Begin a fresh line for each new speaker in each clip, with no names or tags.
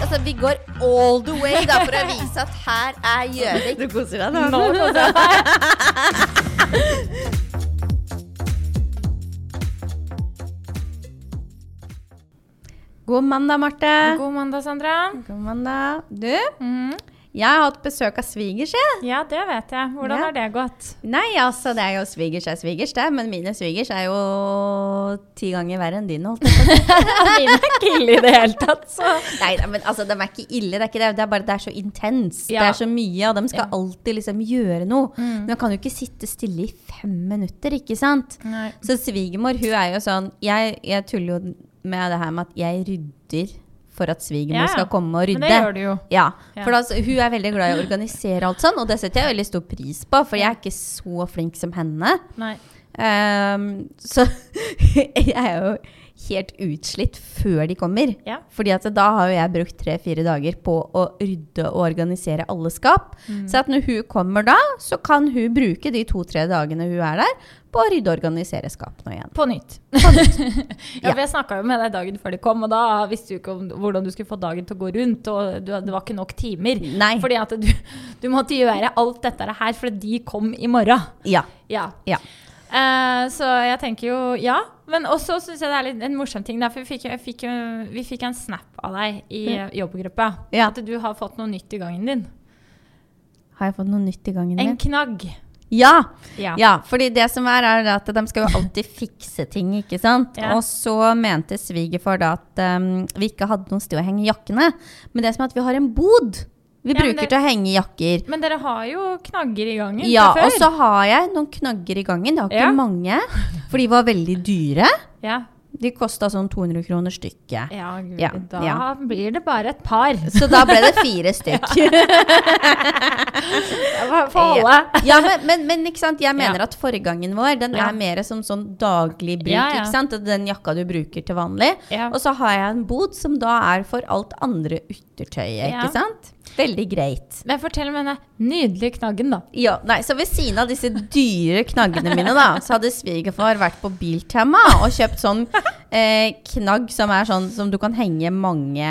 Altså, vi går all the way da, for å vise at her er Gjøvik.
Du koser deg nå. God mandag, Marte.
God mandag, Sandra.
God mandag. Du,
Mhm.
jeg har hatt besøk av svigers, jeg.
Ja, det vet jeg. Hvordan
Ja.
har det gått?
Nei, altså, det er jo svigers er svigers, det. Men mine svigers er jo ti ganger verre enn dine. holdt jeg på å si.
Mine er ikke ille i det hele tatt, så
Nei, nei, men altså, de er ikke ille. Det er, ikke det. det er bare det er så intens.
Ja.
Det er så mye, og de skal
Ja.
alltid liksom gjøre noe.
Mm.
Men de kan jo ikke sitte stille i fem minutter, ikke sant?
Nei.
Så svigermor, hun er jo sånn jeg, jeg tuller jo med det her med at jeg rydder for at svigermor
Ja, ja.
skal komme og rydde.
Men det gjør du jo.
Ja,
Ja.
for da, så- hun er veldig glad i å organisere alt sånn, og det setter jeg veldig stor pris på, for jeg er ikke så flink som henne.
Nei.
Ehm, så jeg er jo helt utslitt før de kommer.
Ja.
Fordi at da har jo jeg brukt tre-fire dager på å rydde og organisere alle skap. Så at når hun kommer da, så kan hun bruke de to-tre dagene hun er der, på å rydde og organisere skapene igjen.
På nytt.
Ja.
ja, for jeg snakka jo med deg dagen før de kom, og da visste du ikke om, hvordan du skulle få dagen til å gå rundt, og du, det var ikke nok timer.
Nei.
Fordi at du, du måtte gjøre alt dette her, for de kom i morgen.
Ja.
Ja.
Ja.
Eh, så jeg tenker jo ja. Men også syns jeg det er litt en morsom ting. Der, for vi fikk, jeg fikk, jo- vi fikk en snap av deg i eh, jobbgruppa.
Ja.
At du har fått noe nytt i gangen din.
Har jeg fått noe nytt i gangen
En
min?
knagg.
Ja!
Ja.
Ja, fordi det som er, er at de skal jo alltid fikse ting, ikke sant?
Ja.
Og så mente svigerfar da at um, vi ikke hadde noe sted å henge jakkene. Men det som er at vi har en bod vi
Ja, men
bruker
det-
til å henge jakker.
Men dere har jo knagger i gangen
Ja,
fra
og
før.
så har jeg noen knagger i gangen. Det har ikke
Ja.
mange, for de var veldig dyre.
Ja,
De kosta sånn 200 kroner stykket.
ja, gud,
Ja,
da
ja.
blir det bare et par.
Så da ble det fire stykk.
Få holde.
Ja, men, men, men ikke sant? jeg mener
Ja.
at forgangen vår den
Ja.
er mer som sånn daglig bruk.
Ja, ja.
Ikke sant? Den jakka du bruker til vanlig.
Ja.
Og så har jeg en bod som da er for alt andre yttertøyet.
Ja.
Ikke sant? Veldig greit.
Men fortell om denne nydelige knaggen, da.
Ja, nei, så ved siden av disse dyre knaggene mine, da, så hadde svigerfar vært på Biltema og kjøpt sånn eh, knagg som er sånn som du kan henge mange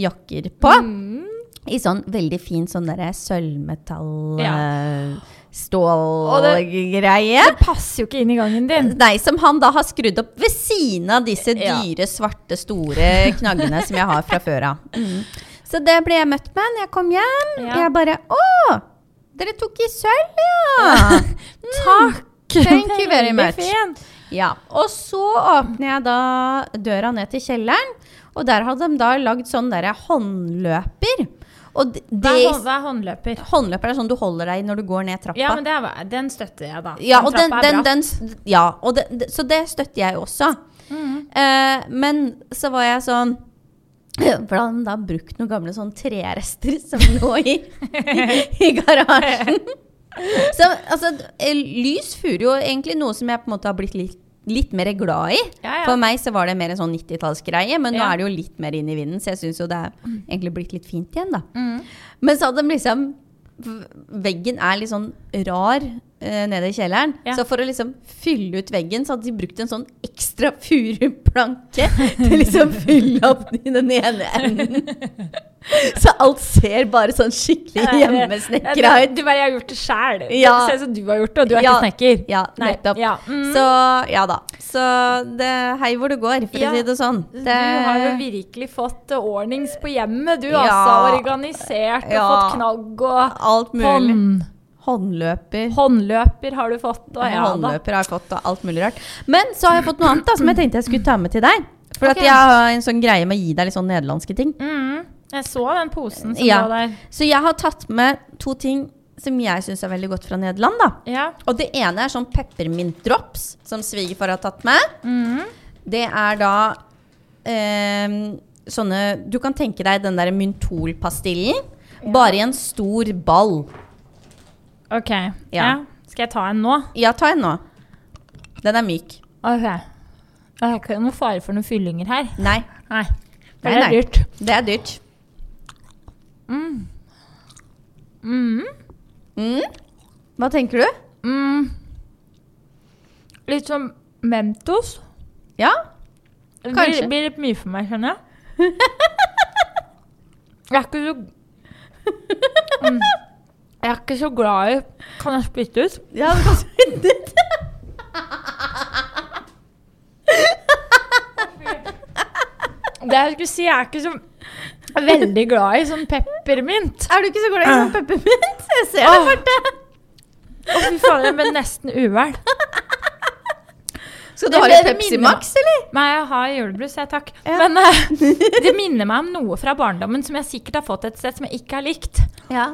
jakker på.
Mm.
I sånn veldig fin sånn derre sølvmetall
Ja.
eh,
Og
Stålgreie.
Det passer jo ikke inn i gangen din.
Nei, som han da har skrudd opp ved siden av disse
Ja.
dyre, svarte, store knaggene som jeg har fra før av. Mm. Så det ble jeg møtt med når jeg kom hjem.
Ja.
Jeg bare Å! Dere tok i sølv, ja!
Takk!
Thank you very
Veldig
much.
fint.
ja. Og så åpner jeg da døra ned til kjelleren, og der hadde de da lagd sånn derre håndløper. Og d-
Hva
det
er, hå- hva er håndløper?
Håndløper er sånn du holder deg i når du går ned trappa.
Ja, men det er, den støtter jeg, da.
Ja, og den,
trappa er
den,
bra.
den, ja og den, den- så det støtter jeg også.
Mm.
Eh, men så var jeg sånn For da hadde de da brukt noen gamle sånn trerester som lå i, i garasjen. Så altså, lys furer jo egentlig noe som jeg på en måte har blitt litt, litt mer glad i.
Ja, ja.
For meg så var det mer en sånn 90-tallsgreie, men nå
Ja.
er det jo litt mer inn i vinden, så jeg syns jo det er egentlig blitt litt fint igjen, da.
Mm.
Men så hadde de liksom v- Veggen er litt sånn rar eh, nede i kjelleren.
Ja.
Så for å liksom fylle ut veggen, så hadde de brukt en sånn ekstra furuplanke til liksom fylle opp i den ene enden. Så alt ser bare sånn skikkelig hjemmesnekra
Ja,
ut.
det- Du bare, jeg har gjort det sjæl.
Ja.
Se som du har gjort det, og du er
Ja.
ikke snekker.
Ja,
Nei,
nettopp.
ja, mm.
Så ja da. Så det hei hvor det går, for
Ja.
å si det sånn. Det,
Du har jo virkelig fått eh, ordnings på hjemmet, du
Ja.
altså. Organisert og
Ja.
fått knagg og
alt mulig.
hånd,
Håndløper.
håndløper har du fått. Og ja da.
Håndløper har jeg fått, og alt mulig rart. Men så har jeg fått noe annet da, som jeg tenkte jeg skulle ta med til deg. For
Ok.
at jeg har en sånn greie med å gi deg litt sånn nederlandske ting.
Mm. Jeg så den posen som
Ja.
lå der.
Så jeg har tatt med to ting som jeg syns er veldig godt fra Nederland. da.
Ja.
Og det ene er sånn peppermintdrops, som svigerfar har tatt med.
Mm.
Det er da eh, sånne Du kan tenke deg den derre myntolpastillen, bare i en stor ball.
OK. Ja. Skal jeg ta en nå?
Ja, ta en nå. Den er myk.
OK. Jeg har ikke noen fare for noen fyllinger her.
Nei,
Nei. Det
Nei,
er
nei.
dyrt.
det er dyrt.
Mm.
Mm. Hva tenker du?
Mm. Litt som Mentos.
Ja?
Det
Kanskje.
blir, blir litt mye for meg, skjønner jeg. Jeg er ikke så Mm. Jeg er ikke så glad i Kan jeg spytte ut?
Ja, det kan spytte ut.
Det jeg skulle si, jeg er ikke så veldig glad i sånn peppermynt.
Er du ikke så glad i sånn peppermint? Jeg ser det,
Åh.
Marte.
Å, fy faen, jeg ble nesten uvel.
Skal du
Det
ha
er
litt
det det
Pepsi
minner
Max, eller?
Nei, jeg har julebrus, jeg, takk. Men eh, det minner meg om noe fra barndommen som jeg sikkert har fått et sted som jeg ikke har likt.
Ja.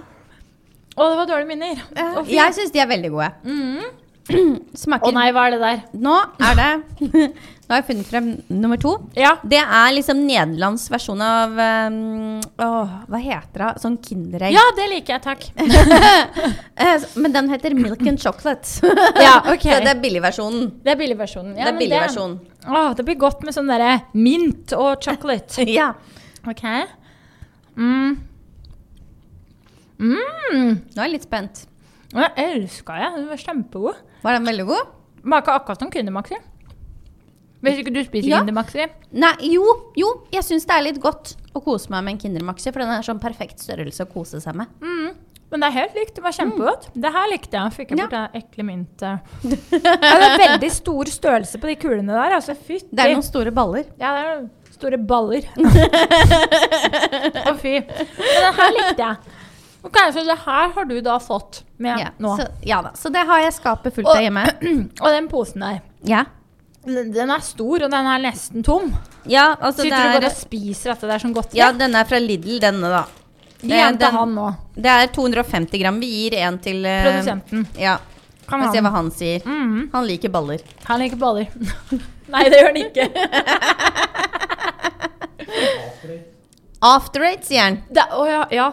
Å, det var dårlige minner. Å, fy.
Jeg syns de er veldig gode. Mm. Smaker
Å nei, hva er det der?
Nå er det Nå har jeg funnet frem nummer to.
Ja.
Det er liksom Nederlands versjon av um, åh, Hva heter det? Sånn Kinderegg.
ja, det liker jeg, takk.
Eh, s- Men den heter Milk and Chocolate.
Ja, ok.
Så det er billigversjonen.
Det er billigversjonen. Ja,
det er
men
billigversjonen.
Å, det blir godt med sånn derre mint og chocolate.
Ja.
OK. Mm. Mm.
Nå er jeg litt spent.
Jeg elska jeg. Den var kjempegod.
Var den veldig god?
Smaker akkurat som Kindermaxi. Hvis ikke du spiser
Ja.
Kindermaxi.
Nei, jo, jo. Jeg syns det er litt godt å kose meg med en Kindermaxi, for den er sånn perfekt størrelse å kose seg med.
Mm. Men det er helt likt. Det var kjempegodt. Det her likte jeg. Fikk jeg
Mm. Ja.
bort det ekle myntet. Ja, det er veldig stor størrelse på de kulene der. Altså, fytti.
Det er noen store baller.
Ja, det er noen store baller. Å, fy. Men det her likte jeg. Og kanskje det her har du da fått med
Ja,
nå.
Så, ja da. Så det har jeg skapet fullt
Og-
av hjemme.
Og den posen der.
Ja.
Den den er stor, og den er nesten tom.
ja, altså det
Sitter du bare
er
og spiser dette der som godteri?
Ja, denne er fra Lidl, denne, da.
Gi
det er
en til
den-
han nå.
Det er 250 gram. Vi gir en til eh,
Produsenten.
Ja.
Kan
Får se hva
han.
han sier.
Mhm.
Han liker baller.
han liker baller. Nei, det gjør han ikke.
After eight, sier han.
Det, å ja, ja.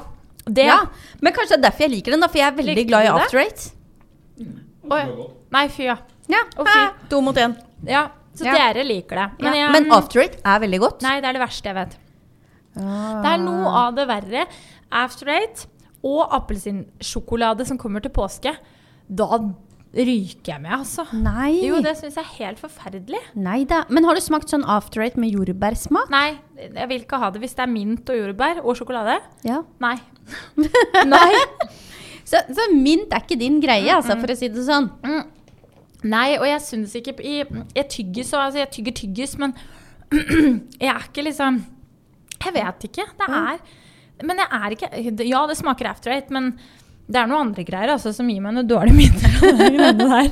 Det
Ja. Men kanskje det er derfor jeg liker den, da, for jeg er veldig
Likte
glad i
du det?
after eight.
Å, ja. Nei, fy ja.
Ja.
Å,
Hæ? To mot én.
ja. Så
Ja.
dere liker det.
Men,
jeg-
Men after eight er veldig godt.
Nei, det er det verste jeg vet.
Ah.
Det er noe av det verre. After eight og appelsinsjokolade som kommer til påske. Da ryker jeg med, altså.
Nei.
Jo, det syns jeg er helt forferdelig.
Nei da. Men har du smakt sånn after eight med jordbærsmak?
Nei, jeg vil ikke ha det hvis det er mint og jordbær og sjokolade.
Ja.
Nei. Nei.
Så, så mint er ikke din greie, altså, for å si det sånn.
Nei, og jeg syns ikke i, Jeg tygger så, altså jeg tygger tyggis, men jeg er ikke liksom Jeg vet ikke. Det er Men jeg er ikke Ja, det smaker after eight, men det er noen andre greier altså, som gir meg noe dårlig minner.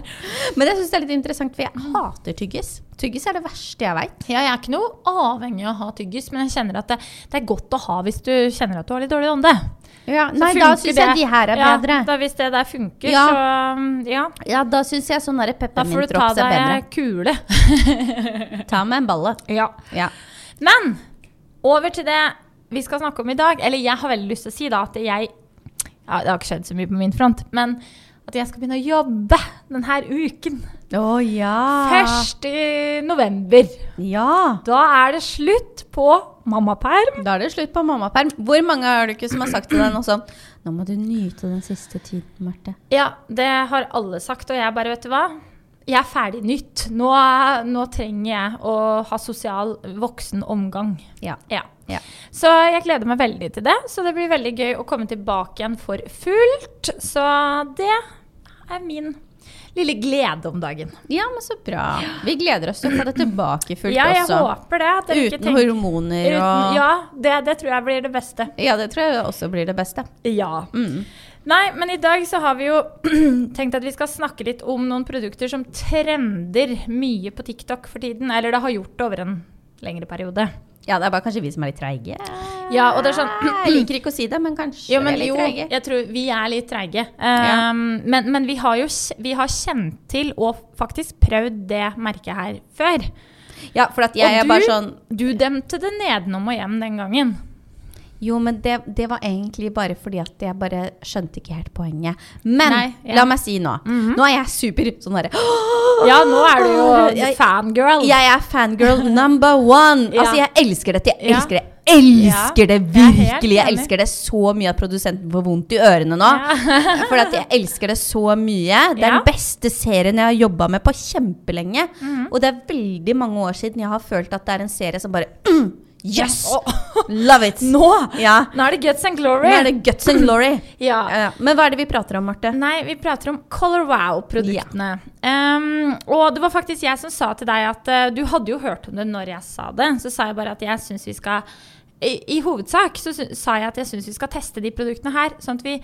Men jeg syns det er litt interessant, for jeg hater tyggis. Tyggis er det verste jeg veit.
Ja, jeg er ikke noe avhengig av å ha tyggis, men jeg kjenner at det, det er godt å ha hvis du kjenner at du har litt dårlig ånde. Så
nei, da
funker
syns
det.
jeg de her er
ja,
bedre.
Da, hvis det der funker,
Ja.
så um, ja.
Ja, da syns jeg sånn derre
Da får du ta
peppermintdrops er
deg
bedre.
ei kule.
Ta med en balle.
ja.
Ja.
Men over til det vi skal snakke om i dag. Eller jeg har veldig lyst til å si da at jeg ja, Det har ikke skjedd så mye på min front, men at jeg skal begynne å jobbe denne uken.
Å ja.
Først i november.
Ja.
Da er det slutt på mammaperm.
Da er det slutt på mammaperm. Hvor mange er du ikke som har sagt til deg nå sånn Nå må du nyte den siste tiden, Marte.
Ja, det har alle sagt, og jeg bare, vet du hva? Jeg er ferdig nytt. Nå, nå trenger jeg å ha sosial voksen omgang.
Ja.
Ja.
Ja.
Så jeg gleder meg veldig til det. Så det blir veldig gøy å komme tilbake igjen for fullt. Så det er min lille glede om dagen.
Ja, men så bra. Vi gleder oss til å få det tilbake fullt
ja, jeg
også.
håper det. At dere ikke
Uten
tenker-
hormoner og
Uten, ja, det, det tror jeg blir det beste.
Ja, det tror jeg også blir det beste.
Ja.
Mm.
Nei, men i dag så har vi jo tenkt at vi skal snakke litt om noen produkter som trender mye på TikTok for tiden. Eller det har gjort det over en lengre periode.
Ja, det er bare kanskje vi som er litt treige.
Ja, og det er sånn
Jeg liker ikke å si det, men kanskje
Jo,
vi
men
er litt
jo,
treige.
jeg tror vi er litt treige. Um,
Ja.
men, men vi har jo kj- vi har kjent til og faktisk prøvd det merket her før.
Ja, for at jeg
og
er bare sånn
du demte det nedenom og hjem den gangen.
Jo, men det, det var egentlig bare fordi at jeg bare skjønte ikke helt poenget. Men
Nei, ja. Mhm.
la meg si nå. Nå er jeg super sånn derre
Ja, nå er du jo
Jeg-
fangirl.
Jeg er fangirl number one!
Ja.
Altså, jeg elsker dette. Jeg
Ja.
elsker det. Elsker det
jeg er helt
virkelig! Jeg
enig.
elsker det så mye at produsenten får vondt i ørene nå.
Ja.
For at jeg elsker det så mye. Det er
Ja.
den beste serien jeg har jobba med
Mhm.
på kjempelenge. Og det er veldig mange år siden jeg har følt at det er en serie som bare mm, Yes!
Å,
Love it!
Nå!
Ja.
Nå er det guts and glory.
Nå er det guts and glory.
ja.
Ja, ja. Men hva er det vi prater om, Marte?
Nei, vi prater om Color Wow-produktene. Ehm, og det var faktisk jeg som sa til deg at eh, du hadde jo hørt om det når jeg sa det. Så sa jeg bare at jeg syns vi skal i, I hovedsak så sy- sa jeg at jeg syns vi skal teste de produktene her, sånn at vi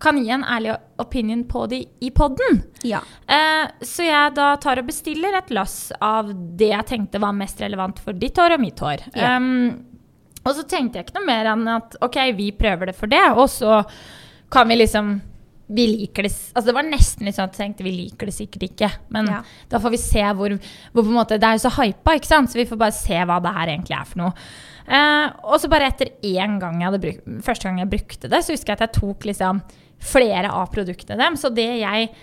kan gi en ærlig opinion på de i poden.
Ja.
Eh, så jeg da tar og bestiller et lass av det jeg tenkte var mest relevant for ditt hår og mitt hår.
Ja.
Um, og så tenkte jeg ikke noe mer enn at ok, vi prøver det for det, og så kan vi liksom vi liker det s- Altså det var nesten litt sånn at jeg tenkte vi liker det sikkert ikke. Men
Ja.
da får vi se hvor, hvor på en måte, Det er jo så hypa, ikke sant? Så vi får bare se hva det her egentlig er for noe. Eh, og så bare etter én gang jeg hadde brukt, første gang jeg brukte det, så husker jeg at jeg tok liksom flere av produktene dem. Så det jeg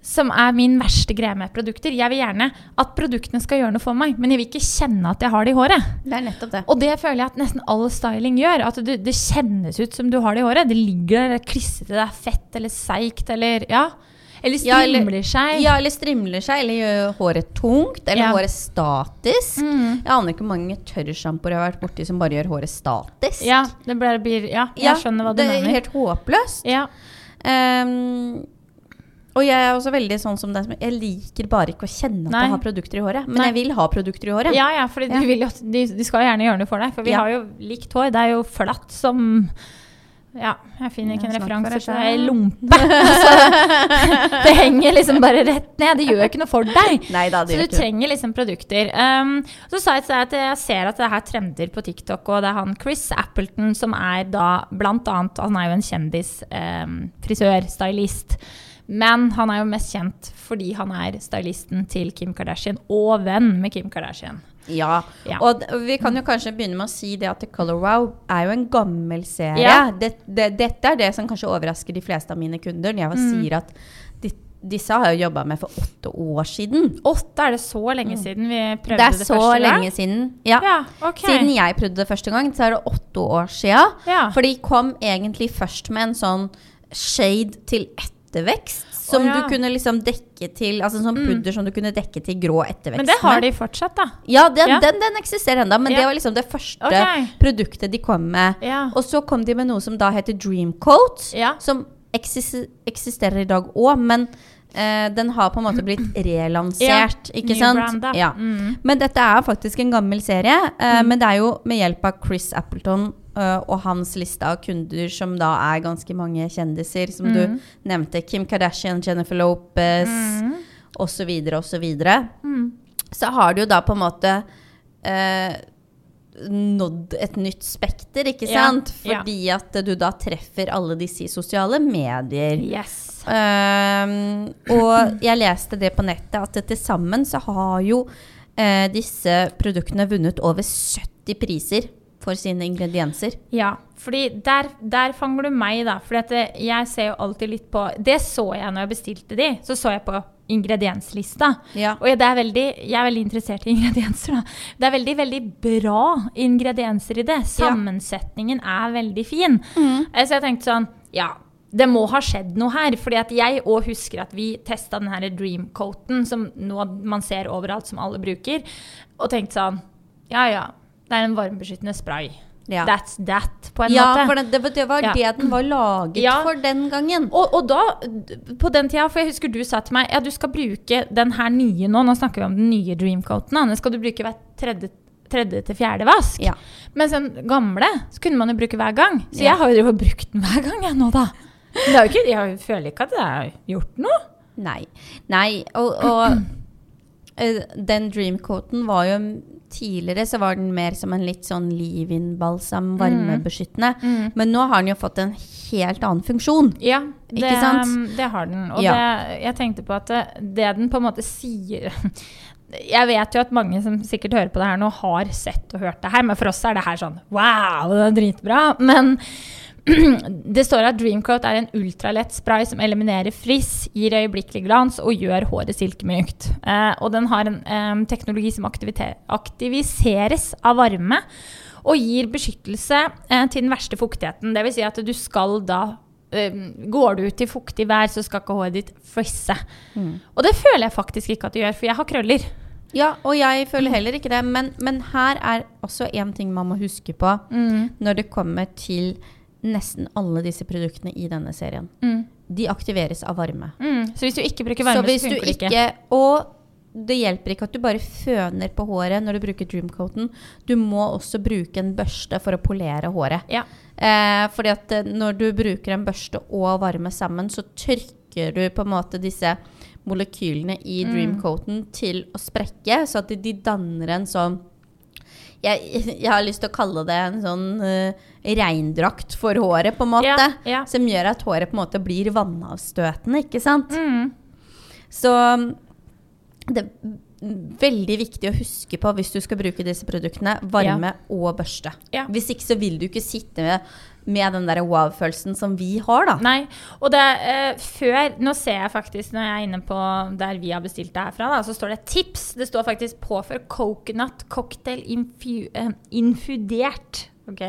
som er min verste greie med produkter. Jeg vil gjerne at produktene skal gjøre noe for meg, men jeg vil ikke kjenne at jeg har det i håret.
Det er nettopp det.
Og det føler jeg at nesten all styling gjør. At du, det kjennes ut som du har det i håret. Det ligger der, det er klissete, det er fett eller seigt eller ja. Eller
Ja, eller-
strimler seg.
Ja, eller strimler seg, eller gjør håret tungt, eller
Ja.
håret statisk.
Mm.
Jeg aner ikke hvor mange tørrsjampoer jeg har vært borti som bare gjør håret statisk.
Ja, det blir, blir Ja, jeg
Ja,
skjønner hva du
det er
mener.
helt håpløst.
Ja.
Ehm, og jeg er også veldig sånn som deg, som jeg liker bare ikke å kjenne at
Nei.
jeg har produkter i håret. Men
Nei.
jeg vil ha produkter i håret.
ja, ja, for
Ja.
de, vil jo at- de, de skal jo gjerne gjøre noe for deg. For vi
Ja.
har jo likt hår. Det er jo flatt som Ja, jeg finner ikke
Ja,
en
snakk for
referanse.
deg
så Det er lompe. altså, det henger liksom bare rett ned. Det gjør ikke noe for deg.
Nei da, det
Så
gjør
du
ikke det.
trenger liksom produkter. Um, så sa jeg til deg at jeg ser at det her trender på TikTok, og det er han Chris Appleton som er da blant annet Han er jo en kjendis, um, frisør, stylist. Men han er jo mest kjent fordi han er stylisten til Kim Kardashian, og venn med Kim Kardashian.
Ja.
Ja.
Og d- vi kan jo kanskje begynne med å si det at Color Wow er jo en gammel serie.
Ja.
Det, det, dette er det som kanskje overrasker de fleste av mine kunder når jeg
Mm.
sier at de, disse har jeg jo jobba med for åtte år siden.
Åtte er det så lenge siden vi
Mm.
prøvde
Det
det,
er så
første gang?
lenge siden. Ja.
Ja, ok.
Siden jeg prøvde det første gang, så er det åtte år sia.
Ja.
For de kom egentlig først med en sånn shade til ettervekst. Som
Å, ja. Mm.
du kunne liksom dekke til Altså sånn pudder som du kunne dekke til grå ettervekst.
Men det har
med.
de fortsatt, da.
Ja, den,
Ja.
Den, den eksisterer ennå, men
Ja.
det var liksom det første
Ok.
produktet de kom med.
Ja.
Og så kom de med noe som da heter Dreamcoat,
Ja.
som eksis eksisterer i dag òg, men eh, den har på en måte blitt relansert, ikke sant?
Nybranda.
Ja.
Mm.
Men dette er faktisk en gammel serie, eh, men det er jo med hjelp av Chris Appleton eh, og hans liste av kunder, som da er ganske mange kjendiser, som
Mm.
du nevnte. Kim Kardashian, Jennifer Lopez osv., osv.
Mm.
Så har du jo da på en måte eh, nådd et nytt spekter, ikke
Ja,
sant?
ja.
Fordi at du da treffer alle disse i sosiale medier.
Yes.
Ehm, og jeg leste det på nettet at til sammen så har jo eh, disse produktene vunnet over 70 priser for sine ingredienser.
Ja, fordi der, der fanger du meg, da. For jeg ser jo alltid litt på Det så jeg når jeg bestilte de. Så så jeg på ingredienslista.
Ja.
Og det er veldig, jeg er veldig interessert i ingredienser, da. Det er veldig, veldig bra ingredienser i det. Sammensetningen er veldig fin. Eh, Så jeg tenkte sånn Ja, det må ha skjedd noe her. fordi at jeg òg husker at vi testa den her dreamcoaten som nå man ser overalt, som alle bruker, og tenkte sånn Ja ja, det er en varmebeskyttende spray.
Ja.
That's that, på en
Ja,
måte.
for det, det, var- det var
Ja.
det den var laget
Ja.
for den gangen.
Og, og da, på den tida, for jeg husker du sa til meg ja, du skal bruke den her nye nå, nå snakker vi om den nye dreamcoaten, da. den skal du bruke hver tredje, tredje til fjerde vask.
Ja.
Mens den gamle så kunne man jo bruke hver gang. Så
Ja.
jeg har jo drevet og brukt den hver gang jeg nå, da. Men Det er jo ikke, jeg føler ikke at jeg har gjort noe.
Nei. Nei, og, og eh, den dreamcoaten var jo mm, Tidligere så var den mer som en litt sånn
Mm.
leave-in-balsam, varmebeskyttende. Men nå har den jo fått en helt annen funksjon.
Ja, det, um,
Ikke sant?
det har den. Og
Ja.
det, jeg tenkte på at det, det den på en måte sier Jeg vet jo at mange som sikkert hører på det her nå, har sett og hørt det her, men for oss er det her sånn wow, det er dritbra. Men det står at Dreamcoat er en ultralett spray som eliminerer friss, gir øyeblikkelig glans og gjør håret silkemykt. Eh, og den har en em, teknologi som aktivite- aktiviseres av varme og gir beskyttelse eh, til den verste fuktigheten. Dvs. Si at du skal da em, Går du ut i Mm. fuktig vær, så skal ikke håret ditt frisse. Og det føler jeg faktisk ikke at det gjør, for jeg har krøller.
Ja, og jeg føler heller ikke det. Men, men her er også en ting man må huske på når det kommer til nesten alle disse produktene i denne serien.
Mm.
De aktiveres av varme.
Mm. Så hvis du ikke
Så
bruker varme, så,
hvis du
funker det ikke.
ikke Og det hjelper ikke at du bare føner på håret når du bruker Dreamcoaten. Du må også bruke en børste for å polere håret.
Ja.
Eh, fordi at eh, når du bruker en børste og varme sammen, så trykker du på en måte disse molekylene i
Mm.
dreamcoaten til å sprekke, så at de- de danner en sånn jeg, jeg har lyst til å kalle det en sånn eh, regndrakt for håret, på en måte.
Ja, ja.
Som gjør at håret på en måte blir vannavstøtende, ikke sant?
Mm.
Så mm, det er veldig viktig å huske på hvis du skal bruke disse produktene, varme og børste.
Ja.
Hvis ikke så vil du ikke sitte med, med den der wow-følelsen som vi har, da.
Nei. Og det eh, før Nå ser jeg faktisk, når jeg er inne på der vi har bestilt det herfra, da, så står det 'tips'. Det står faktisk 'påfør coconut cocktail infu, eh, infudert'. Ok.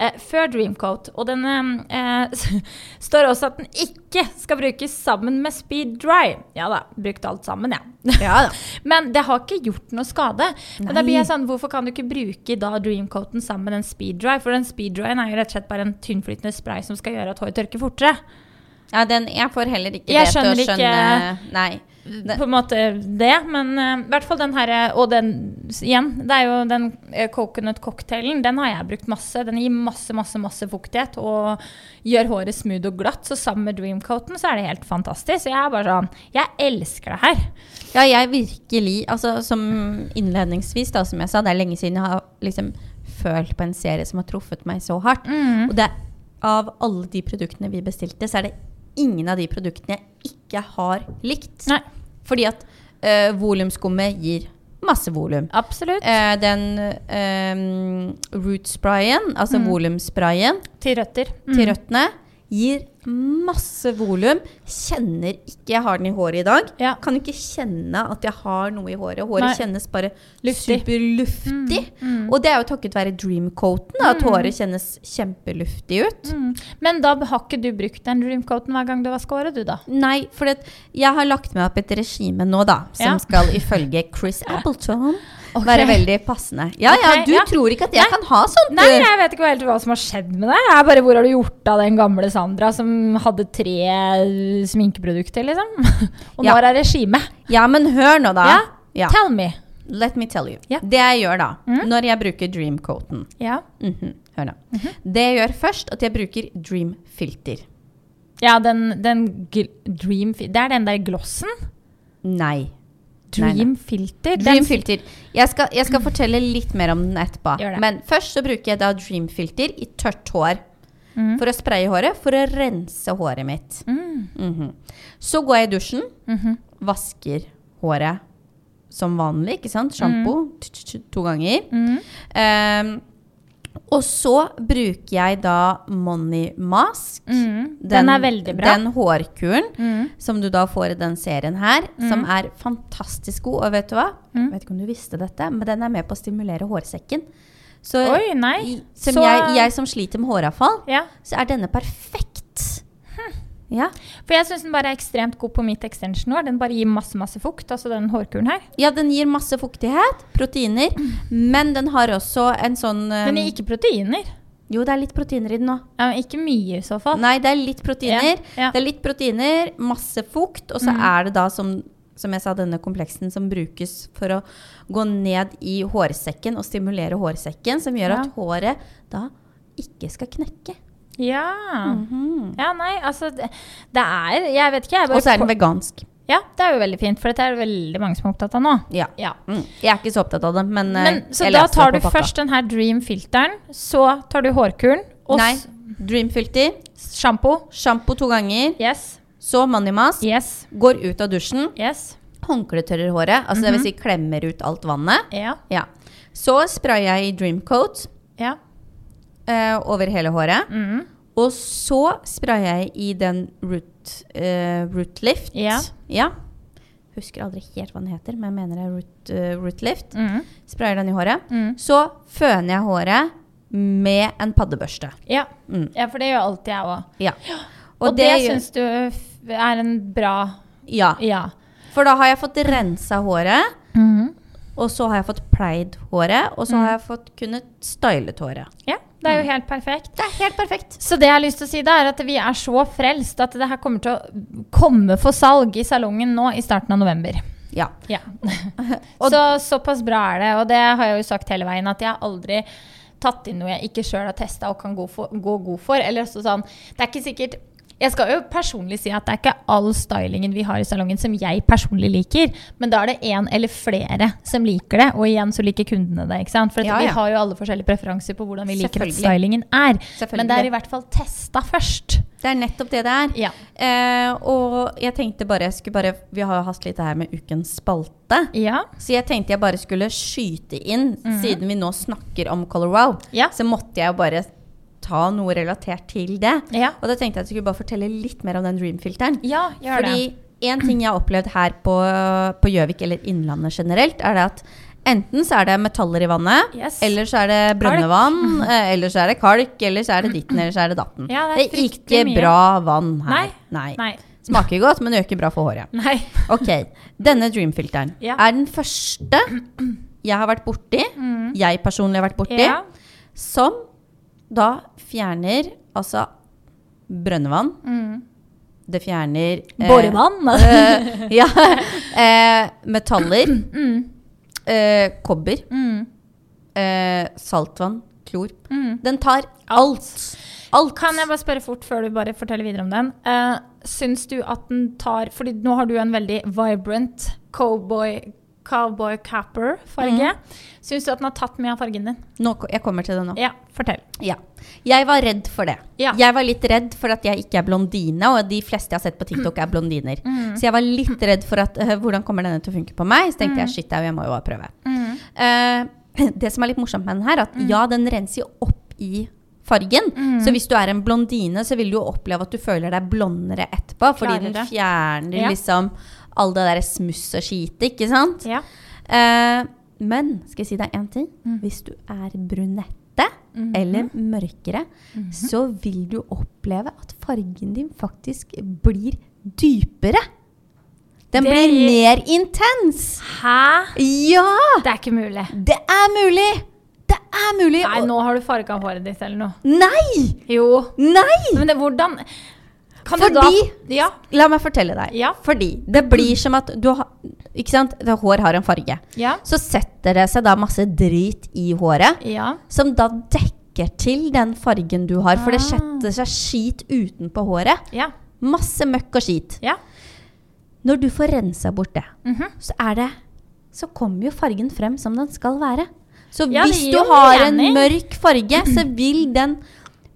Eh, før Dreamcoat. Og den eh, eh, står også at den ikke skal brukes sammen med Speed Dry. Ja da, brukte alt sammen, jeg. Ja.
Ja da.
Men det har ikke gjort noe skade. Men da
Nei.
blir jeg sånn, hvorfor kan du ikke bruke da Dreamcoaten sammen med den Speed Dry? For den Speed Dryen er jo rett og slett bare en tynnflytende spray som skal gjøre at håret tørker fortere.
Ja, den, jeg får heller ikke
Jeg
det til å
skjønner ikke-
skjønne Nei. Ne-
På en måte det, men eh, i hvert fall den her, eh, og den s- igjen, det er jo den eh, coconut cocktailen, den har jeg brukt masse. Den gir masse, masse, masse fuktighet og gjør håret smooth og glatt. Så sammen med Dreamcoaten så er det helt fantastisk. Så jeg er bare sånn, jeg elsker det her.
Ja, jeg virkelig altså, Som innledningsvis, da, som jeg sa, det er lenge siden jeg har liksom følt på en serie som har truffet meg så hardt.
Mm.
Og det, er- av alle de produktene vi bestilte, så er det ingen av de produktene jeg ikke har likt.
Nei.
Fordi at øh, volumskummet gir masse volum.
Absolutt.
Eh, den øh, root-sprayen, altså
Mm.
volumsprayen
Til røtter.
Eh,
Mm.
til røttene, gir masse volum. Kjenner ikke Jeg har den i håret i dag.
Ja.
Kan ikke kjenne at jeg har noe i håret. Håret
Nei.
kjennes bare
Luftig. Mm.
superluftig. Og det er jo takket være dreamcoaten, da, at håret kjennes kjempeluftig ut.
Mm. Men da har ikke du brukt den dreamcoaten hver gang du vasker håret, du da?
Nei, for det, jeg har lagt meg opp et regime nå, da, som
Ja.
skal ifølge Chris Appleton
Ok.
være veldig passende. Ja ja,
Ok,
du
ja.
tror ikke at jeg
Nei.
kan ha sånt,
Nei,
du!
jeg vet ikke helt hva som har skjedd med deg. Jeg er bare, hvor har du gjort av den gamle Sandra som hadde tre sminkeprodukter, liksom? Og
Ja.
nå er det regime.
Ja, men hør nå, da.
Ja.
Ja.
Tell me.
Let me tell you.
Ja. Mm.
Det jeg gjør da, når jeg bruker dreamcoaten
Ja.
Mhm, Hør nå. Det jeg gjør først, at jeg bruker Dream Filter.
Ja, den, den gl- dream fi- Det er den der glossen.
Nei. Nei, nei.
Dream filter. Den
Dream
s-
Filter. Jeg skal, jeg skal fortelle litt mer om den
Gjør
etterpå.
det.
Men først så bruker jeg da Dream Filter i tørt hår.
mm.
For å spraye håret, for å rense håret mitt. Mhm. Så går jeg i dusjen,
mhm,
vasker håret som vanlig, ikke sant? Sjampo
Mm.
t- t- t- to ganger. Ehm, og så bruker jeg da Money Mask.
Mm, den, er veldig bra. Mm.
Den hårkuren som du da får i den serien her, som er fantastisk god. Og vet du hva? Jeg
Mm.
vet ikke om du visste dette, men den er med på å stimulere hårsekken. Så,
Oi, nei.
i- som
Så-
jeg, jeg som sliter med håravfall,
Ja.
så er denne perfekt.
Hm.
Ja.
For jeg syns den bare er ekstremt god på mitt extension-hår. Den bare gir masse, masse fukt, altså den hårkuren her.
ja, den gir masse fuktighet, proteiner, men den har også en sånn
Den
eh,
gir ikke proteiner.
Jo, det er litt proteiner i den òg.
Ja, men ikke mye i så fall.
Nei, det er litt proteiner.
Ja, Mm. ja.
Det er litt proteiner, masse fukt, og så er det da som, som jeg sa, denne kompleksen som brukes for å gå ned i hårsekken og stimulere hårsekken, som gjør
Ja.
at håret da ikke skal knekke. Mhm.
Ja.
Mm.
ja, nei, altså det, det er Jeg vet ikke, jeg
Og
bare
så er den vegansk.
Ja, det er jo veldig fint, for dette er det veldig mange som er opptatt av nå.
Ja.
Ja.
Mm. Jeg er ikke så opptatt av det, men, eh,
Men, så
jeg
da
leser
tar du
det på pakka.
først den her Dream-filteren, så tar du hårkuren og
Nei.
s-
Dreamfilter,
sjampo.
sjampo to ganger,
Yes,
så money mask,
yes,
går ut av dusjen,
yes.
håndkletørrer håret, altså
Mhm.
det vil si klemmer ut alt vannet.
Ja,
Ja. Så sprayer jeg i Dreamcoat
ja.
eh, over hele håret.
Mm.
Og så sprayer jeg i den root, eh, root lift.
Ja.
Ja. Husker aldri helt hva den heter, men jeg mener det er root, eh, root lift.
Mm.
Sprayer den i håret.
Mm.
Så føner jeg håret med en paddebørste.
Ja.
Mm.
ja, for det gjør alltid jeg òg.
Ja.
Og, det,
gjør-
syns du f- er en bra
ja.
Ja.
For da har jeg fått rensa håret,
Mhm.
og så har jeg fått pleid håret, og så
Mm.
har jeg fått kunnet stylet håret.
Ja, det er jo helt perfekt.
Det er helt perfekt.
Så det jeg har lyst til å si, da, er at vi er så frelst at det her kommer til å komme for salg i salongen nå i starten av november.
Ja.
Ja. så såpass bra er det. Og det har jeg jo sagt hele veien, at jeg har aldri tatt inn noe jeg ikke sjøl har testa og kan gå, for, gå god for. Eller også sånn Det er ikke sikkert Jeg skal jo personlig si at det er ikke all stylingen vi har i salongen som jeg personlig liker, men da er det én eller flere som liker det, og igjen så liker kundene det. ikke sant? For at
Ja, ja.
vi har jo alle forskjellige preferanser på hvordan vi liker at
Selvfølgelig.
stylingen er.
Selvfølgelig.
Men det er i hvert fall testa først.
Det er nettopp det det er.
Ja.
Eh, og jeg tenkte bare, jeg skulle bare Vi har jo hatt litt det her med ukens spalte.
Ja.
Så jeg tenkte jeg bare skulle skyte inn,
Mhm.
siden vi nå snakker om Color Wow.
Ja.
Så måtte jeg jo bare ta noe relatert til det.
Ja.
Og da tenkte jeg at jeg skulle bare fortelle litt mer om den Dream-filteren.
ja gjør
Fordi en ting jeg har opplevd her på på Gjøvik, eller Innlandet generelt, er det at enten så er det metaller i vannet,
Yes.
eller så er det brønnevann, eh, eller så er det kalk, eller så er det ditten, eller så er det datten.
Ja, det er
ikke
fryktelig mye.
bra vann her.
det. Nei.
Smaker godt, men det gjør ikke bra for håret.
Nei.
Ok, denne Dream-filteren
Ja.
er den første jeg har vært borti,
Mm.
jeg personlig har vært borti,
Ja.
som da fjerner altså brønnevann,
Mm.
det fjerner eh, eh, ja, eh, metaller,
mm,
eh, kobber, eh, saltvann, klor. Den tar alt. Alt.
mm. Kan jeg bare spørre fort før du bare forteller videre om den? Uh, syns du at den tar Fordi nå har du en veldig vibrant cowboy Cowboy capper-farge.
Mm.
Syns du at den har tatt mye av fargen din?
Nå, ko- jeg kommer til det nå.
Ja, fortell.
Ja. Jeg var redd for det.
Ja.
Jeg var litt redd for at jeg ikke er blondine, og de fleste jeg har sett på TikTok, er blondiner.
Mm.
Så jeg var litt redd for at øh, hvordan kommer denne til å funke på meg? Så
Mm.
tenkte jeg shit, au, jeg må jo bare prøve. Eh, det som er litt morsomt med den her, at
Mm.
ja, den renser jo opp i fargen. Så hvis du er en blondine, så vil du jo oppleve at du føler deg blondere etterpå, fordi
Klarer det.
den fjerner
Ja.
liksom all det derre smuss og skite, ikke sant?
Ja.
Eh, men skal jeg si deg én ting?
Mm.
Hvis du er brunette
Mhm.
eller mørkere, så vil du oppleve at fargen din faktisk blir dypere. Den
Det
blir
gir-
mer intens!
Hæ?
Ja!
Det er ikke mulig.
Det er mulig! Det er mulig!
Nei,
og-
nå har du farga håret ditt eller noe.
Nei!
Jo.
Nei!
Men det, hvordan Kan du
Fordi-
da Ja.
La meg fortelle deg.
Ja.
Fordi det blir som at du har Ikke sant? Det- Hår har en farge.
Ja.
Så setter det seg da masse drit i håret.
ja.
som da dekker til den fargen du har. For det
Ah.
setter seg skit utenpå håret.
Ja.
Masse møkk og skit.
Ja.
Når du får rensa bort det,
Mhm.
så er det Så kommer jo fargen frem som den skal være. Så
Ja, det
hvis
gir
du
jo
har en
mening.
mørk farge, så vil den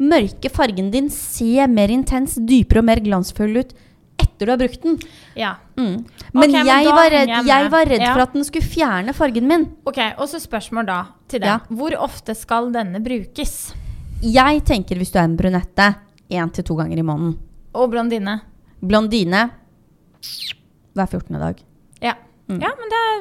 mørke fargen din se mer intens, dypere og mer glansfull ut etter du har brukt den.
ja.
Mm. Men,
Ok, men
jeg,
da
var
henger
redd,
jeg
jeg,
med.
var redd
Ja.
for at den skulle fjerne fargen min.
Ok, og så spørsmål da til deg.
Ja.
Hvor ofte skal denne brukes?
Jeg tenker hvis du er en brunette, én til to ganger i måneden.
Og blondine?
Blondine hver 14. dag.
Ja.
Mm.
ja, men det er,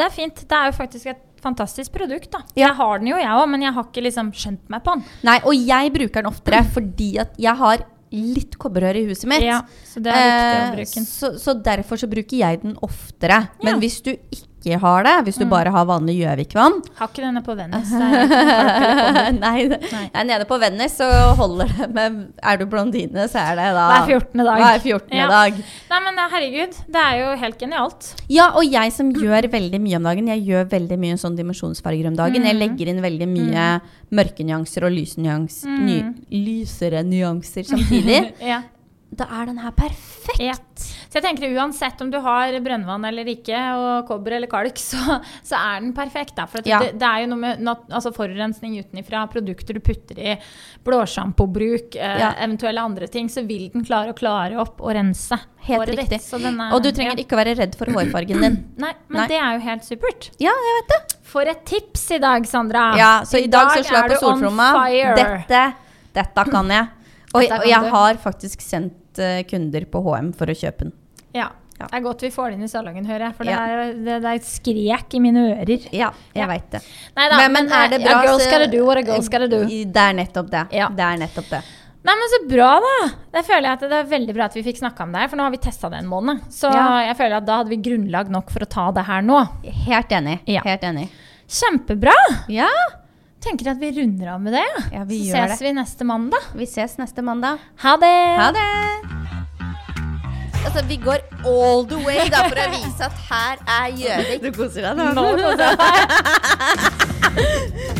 det er fint. Det er jo faktisk et fantastisk produkt, da. Jeg har den jo, jeg òg, men jeg har ikke liksom skjønt meg på den.
Nei, og jeg bruker den oftere fordi at jeg har litt kobberhør i huset mitt.
Ja, så det er viktig å
Eh,
bruke den.
Så, så derfor så bruker jeg den oftere.
Ja.
Men hvis du ikke har det, hvis du bare har vanlig Gjøvik-vann
Har ikke denne på Venice. det er ikke noe folk eller på den.
Nei, det-
Nei.
det er nede på Venice, så holder det med Er du blondine, så er det da
Hver 14. dag.
Hver 14.
Ja.
dag.
Nei, men eh, herregud, det er jo helt genialt.
Ja, og jeg som gjør veldig mye om dagen, jeg gjør veldig mye sånn dimensjonsfarger om dagen.
Mm.
Jeg legger inn veldig mye mørke nyanser og lyse nyans,
Mm.
ny, lysere nyanser samtidig.
Ja.
Da er den her perfekt.
Ja. Så jeg tenker uansett om du har brønnvann eller ikke, og kobber eller kalk, så, så er den perfekt. Da. For at
Ja.
det, det er jo noe med nat altså forurensning utenfra, produkter du putter i, blåsjampobruk, eh,
Ja.
eventuelle andre ting, så vil den klare å klare opp og rense
Helt
håret
riktig.
ditt. Så den er-
Og du trenger
ja.
ikke å være redd for hårfargen din.
Nei, men
Nei.
det er jo helt supert.
Ja, jeg vet det.
For et tips i dag, Sandra.
Ja, så i dag så slår
er
jeg på
du on
stortromma.
fire.
Dette, dette kan jeg. Og,
Dette kan
og
du.
jeg har faktisk sendt eh, kunder på HM for å kjøpe den.
Ja.
Ja.
Det er godt vi får det inn i salongen, hører jeg. For
Ja.
det, er, det, det er et skrek i mine ører.
Ja, jeg
Ja.
veit det.
Nei da, eh,
Men- men er det bra,
A girl's
så-
gotta do what a girl's gotta do.
Det er nettopp det.
Ja.
Det er nettopp det.
Nei, men så bra, da! Det føler jeg at det er veldig bra at vi fikk snakka om det her, for nå har vi testa det en måned. Så
Ja.
jeg føler at da hadde vi grunnlag nok for å ta det her nå.
Helt enig.
Ja.
Helt enig.
Kjempebra!
Ja,
Tenker at vi runder av med det. ja.
ja vi
så
gjør
ses
det.
vi neste mandag.
Vi ses neste mandag.
Ha det!
Ha det!
Altså, vi går all the way da, for å vise at her er Gjøvik.
Du koser deg
Nå,